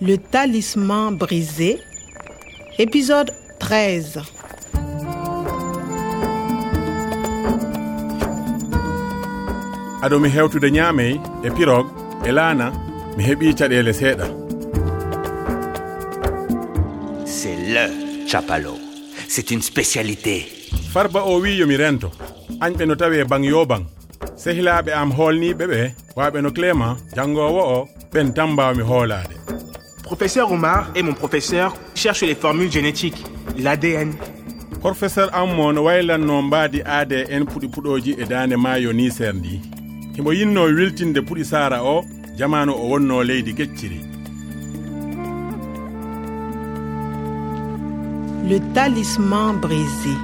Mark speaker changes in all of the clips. Speaker 1: Le talisman brisé, épisode 13.
Speaker 2: aɗo mi hewtude ñaamey e pirog e laana mi heɓi caɗele seeɗa
Speaker 3: C'est le chapalo. C'est une spécialité.
Speaker 2: farba o wi yomi rento añɓe no tawi e bang yo bang sehilaɓe am hoolniɓe ɓe waɓe no clément janngowo o ɓen tan mbawmi hoolade
Speaker 4: Professeur Omar et mon professeur cherchent les formules génétiques, l'ADN.
Speaker 2: professeur am mo no waylanno mbaadi aade en puɗi puɗoji e dande maayo ni ser ndi himo yinno wiltinde puɗi saara o jamanu o wonno leydi gecciri
Speaker 1: Le talisman brisé.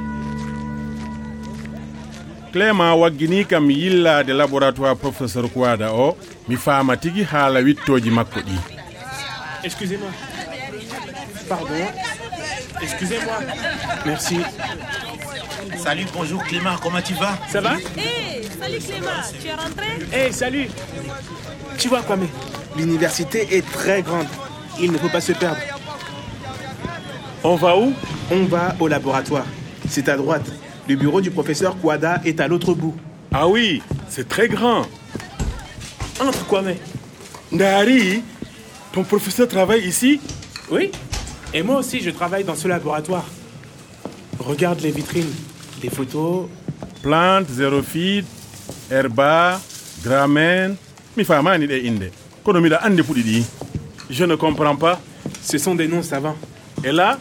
Speaker 2: clément waggini kam yillade laboratoire professeur kowada o mi faama tigi haala wittoji makko ɗi
Speaker 4: Excusez-moi. Pardon. Excusez-moi. Merci.
Speaker 5: Salut, bonjour Clément, comment tu vas
Speaker 4: Ça va
Speaker 6: Hey, salut Clément, tu es rentré
Speaker 4: Eh, salut. Tu vois, Kwame, l'université est très grande. Il ne faut pas se perdre.
Speaker 7: On va où
Speaker 4: On va au laboratoire. C'est à droite. Le bureau du professeur Kwada est à l'autre bout.
Speaker 7: Ah oui, c'est très grand.
Speaker 4: Entre, Kwame.
Speaker 7: Ndahari, ton professeur travaille ici
Speaker 4: Oui. Et moi aussi, je travaille dans ce laboratoire. Regarde les vitrines, les photos.
Speaker 2: plante zérophyte herba gramen mi famani ɗe inde kono miɗa andi puɗi ɗi
Speaker 7: Je ne comprends pas.
Speaker 4: Ce sont des noms savants.
Speaker 7: Et là,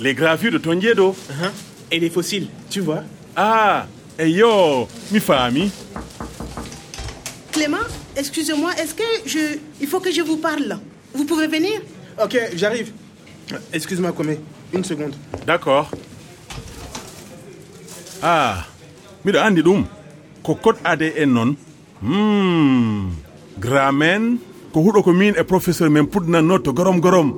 Speaker 7: les gravures de Tonjedo.
Speaker 4: Et les fossiles, tu vois
Speaker 2: ah eyo mi faami
Speaker 8: Clément, excusez-moi, est-ce que je... Il faut que je vous parle. Vous pouvez venir
Speaker 4: Ok, j'arrive. Excuse-moi, Kwame. Une seconde.
Speaker 2: d'accord ah miɗa andi ɗum ko code adn noon hmm gramen ko huɗo ko min e professeur men puɗnanno to gorom gorom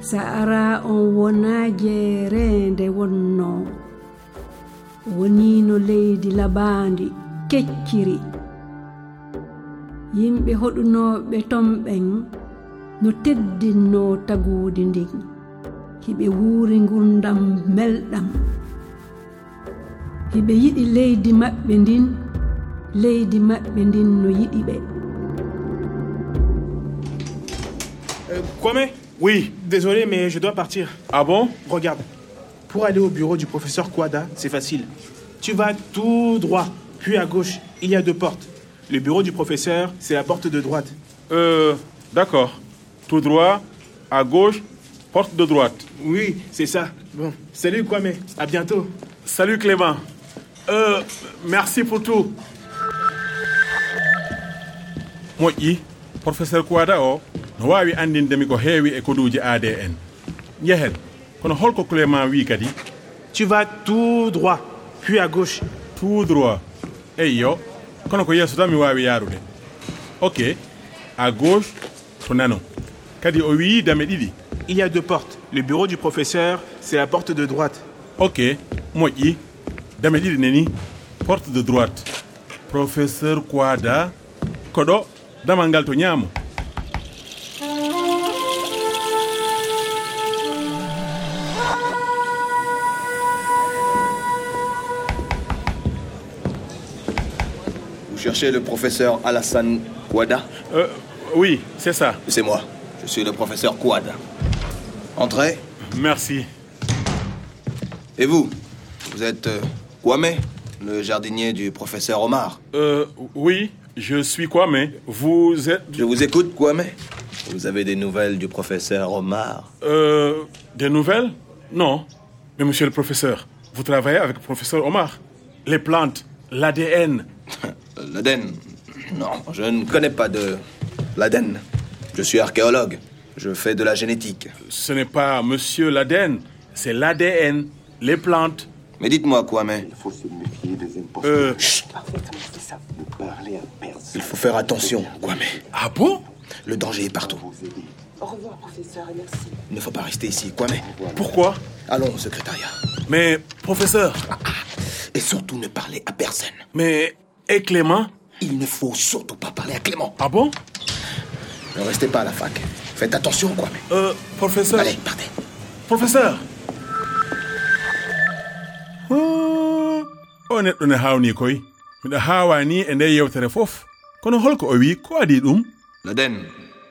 Speaker 9: so ara on wona jeerende wonno wonino leydi labandi kecciri yimɓe hoɗunoɓe tomɓen no teddinno tagudi ndin hiɓe wuuri gurdam melɗam hiɓe yiɗi leydi maɓɓe ndin leydi maɓɓe ndin no yiɗi ɓe
Speaker 4: Euh, Kwame
Speaker 2: oui
Speaker 4: Désolé, mais je dois partir.
Speaker 2: ah bon
Speaker 4: Regarde. Pour aller au bureau du professeur Kwada, c'est facile. Tu vas tout droit, puis à gauche. Il y a deux portes. Le bureau du professeur, c'est la porte de droite.
Speaker 2: euh, d'accord tout droit à gauche porte de droite
Speaker 4: Oui, c'est ça. Bon, salut Kwame. À bientôt.
Speaker 2: Salut Clément. Euh, merci pour tout. moƴƴi professeur kowada o no wawi andindemi ko heewi e koduji adn jehen kono holko clément wi kadi
Speaker 4: Tu vas tout droit, puis à gauche.
Speaker 2: tout droit eyyo kono ko yeeso tan mi wawi yarude ok à gauche to nano kadi o wii dame ɗiɗi
Speaker 4: Il y a deux portes. Le bureau du professeur, c'est la porte de droite.
Speaker 2: ok moƴƴi dame ɗiɗi neni porte de droite professeur quada ko ɗo damal ngal to ñaamo
Speaker 10: Vous cherchez le professeur Alassane Kouada
Speaker 2: Euh, oui c'est ça
Speaker 10: C'est moi. Je suis le professeur Kouada. Entrez.
Speaker 2: merci
Speaker 10: Et vous Vous êtes euh, Kwame, le jardinier du professeur Omar.
Speaker 2: Euh, oui je suis quoi mais vous êtes
Speaker 10: Je vous écoute, Kwame. Vous avez des nouvelles du professeur Omar
Speaker 2: euh, des nouvelles non mais monsieur le professeur vous travaillez avec le professeur Omar les plantes l'ADN
Speaker 10: Euh, L'Aden Non, je ne connais pas de l'Aden. Je suis archéologue. Je fais de la génétique.
Speaker 2: ce n'est pas monsieur l'ADN c'est l'ADN les plantes
Speaker 10: Mais dites-moi, Kwame,
Speaker 11: Il faut se méfier des imposteurs.
Speaker 2: euh,
Speaker 11: Arrête-moi de ça. Ne parler à personne.
Speaker 10: il faut faire attention, Kwame.
Speaker 2: ah bon
Speaker 10: Le danger est partout.
Speaker 11: Vous aider. Au revoir, professeur, et merci.
Speaker 10: Il ne faut pas rester ici, Kwame.
Speaker 2: pourquoi
Speaker 10: Allons au secrétariat.
Speaker 2: mais professeur
Speaker 10: Et surtout, ne parlez à personne.
Speaker 2: Mais
Speaker 7: Et Clément
Speaker 10: Il ne faut surtout pas parler à Clément.
Speaker 7: Ah bon
Speaker 10: Ne restez pas à la fac. Faites attention, quoi.
Speaker 7: Euh, professeur.
Speaker 10: Allez, partez.
Speaker 7: Professeur.
Speaker 2: Ah, o neɗɗo ne hawni koy miɗo hawani e nde yewtere fof kono holko o wi ko adi ɗum
Speaker 10: L'Aden.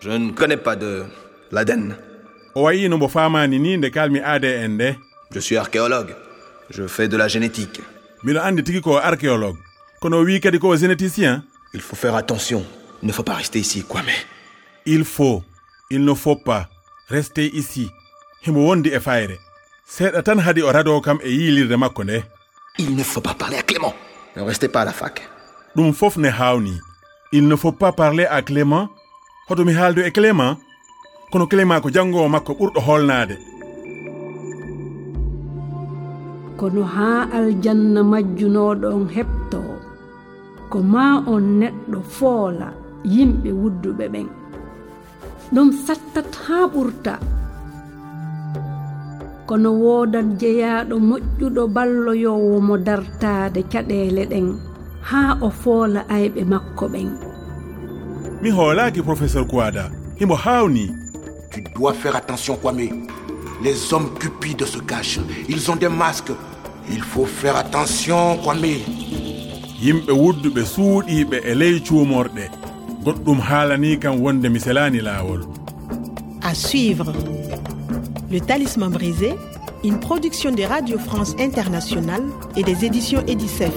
Speaker 10: Je ne connais pas de l'Aden.
Speaker 2: o wayi no mbo famani ni nde kalmi aade en nde
Speaker 10: Je suis archéologue. Je fais de la génétique.
Speaker 2: miɗo andi tigi ko archéologue kono o wi kadi ko généticien
Speaker 10: Il faut faire attention. Il ne faut pas rester ici, quoi, mais.
Speaker 2: il faut il ne faut pas rester ici himo wondi e fayre seeɗa tan hadi o rado kam e yilirde makko nde
Speaker 10: Il ne faut pas parler à Clément. Ne restez pas à la fac.
Speaker 2: ɗum fof ne hawni il ne faut pas parler à clément hoto mi haaldu e clément kono clément ko janngowo makko ɓurɗo holnaade
Speaker 9: kono haa aljanna majjunoɗon heɓto ko ma on neɗɗo foola yimɓe wudduɓe ɓen ɗum sattat haa ɓurta kono woodat jeyaaɗo moƴƴuɗo balloyowo mo dartaade caɗeele ɗen haa o foola ayɓe makko ɓen
Speaker 2: mi hoolaaki professeur kouada himo haawni
Speaker 12: Tu dois faire attention, Kwame. Les hommes cupides se cachent. Ils ont des masques. Il faut faire attention, Kwame.
Speaker 2: yimɓe wudduɓe suuɗiiɓe e ley cuumorɗe goɗɗum haalanii kam wonde mi selaani laawol
Speaker 1: À suivre. Le Talisman brisé, une production de Radio France Internationale et des éditions Edicef.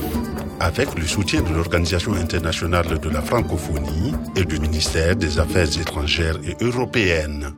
Speaker 13: avec le soutien de l'Organisation internationale de la francophonie et du ministère des Affaires étrangères et européennes.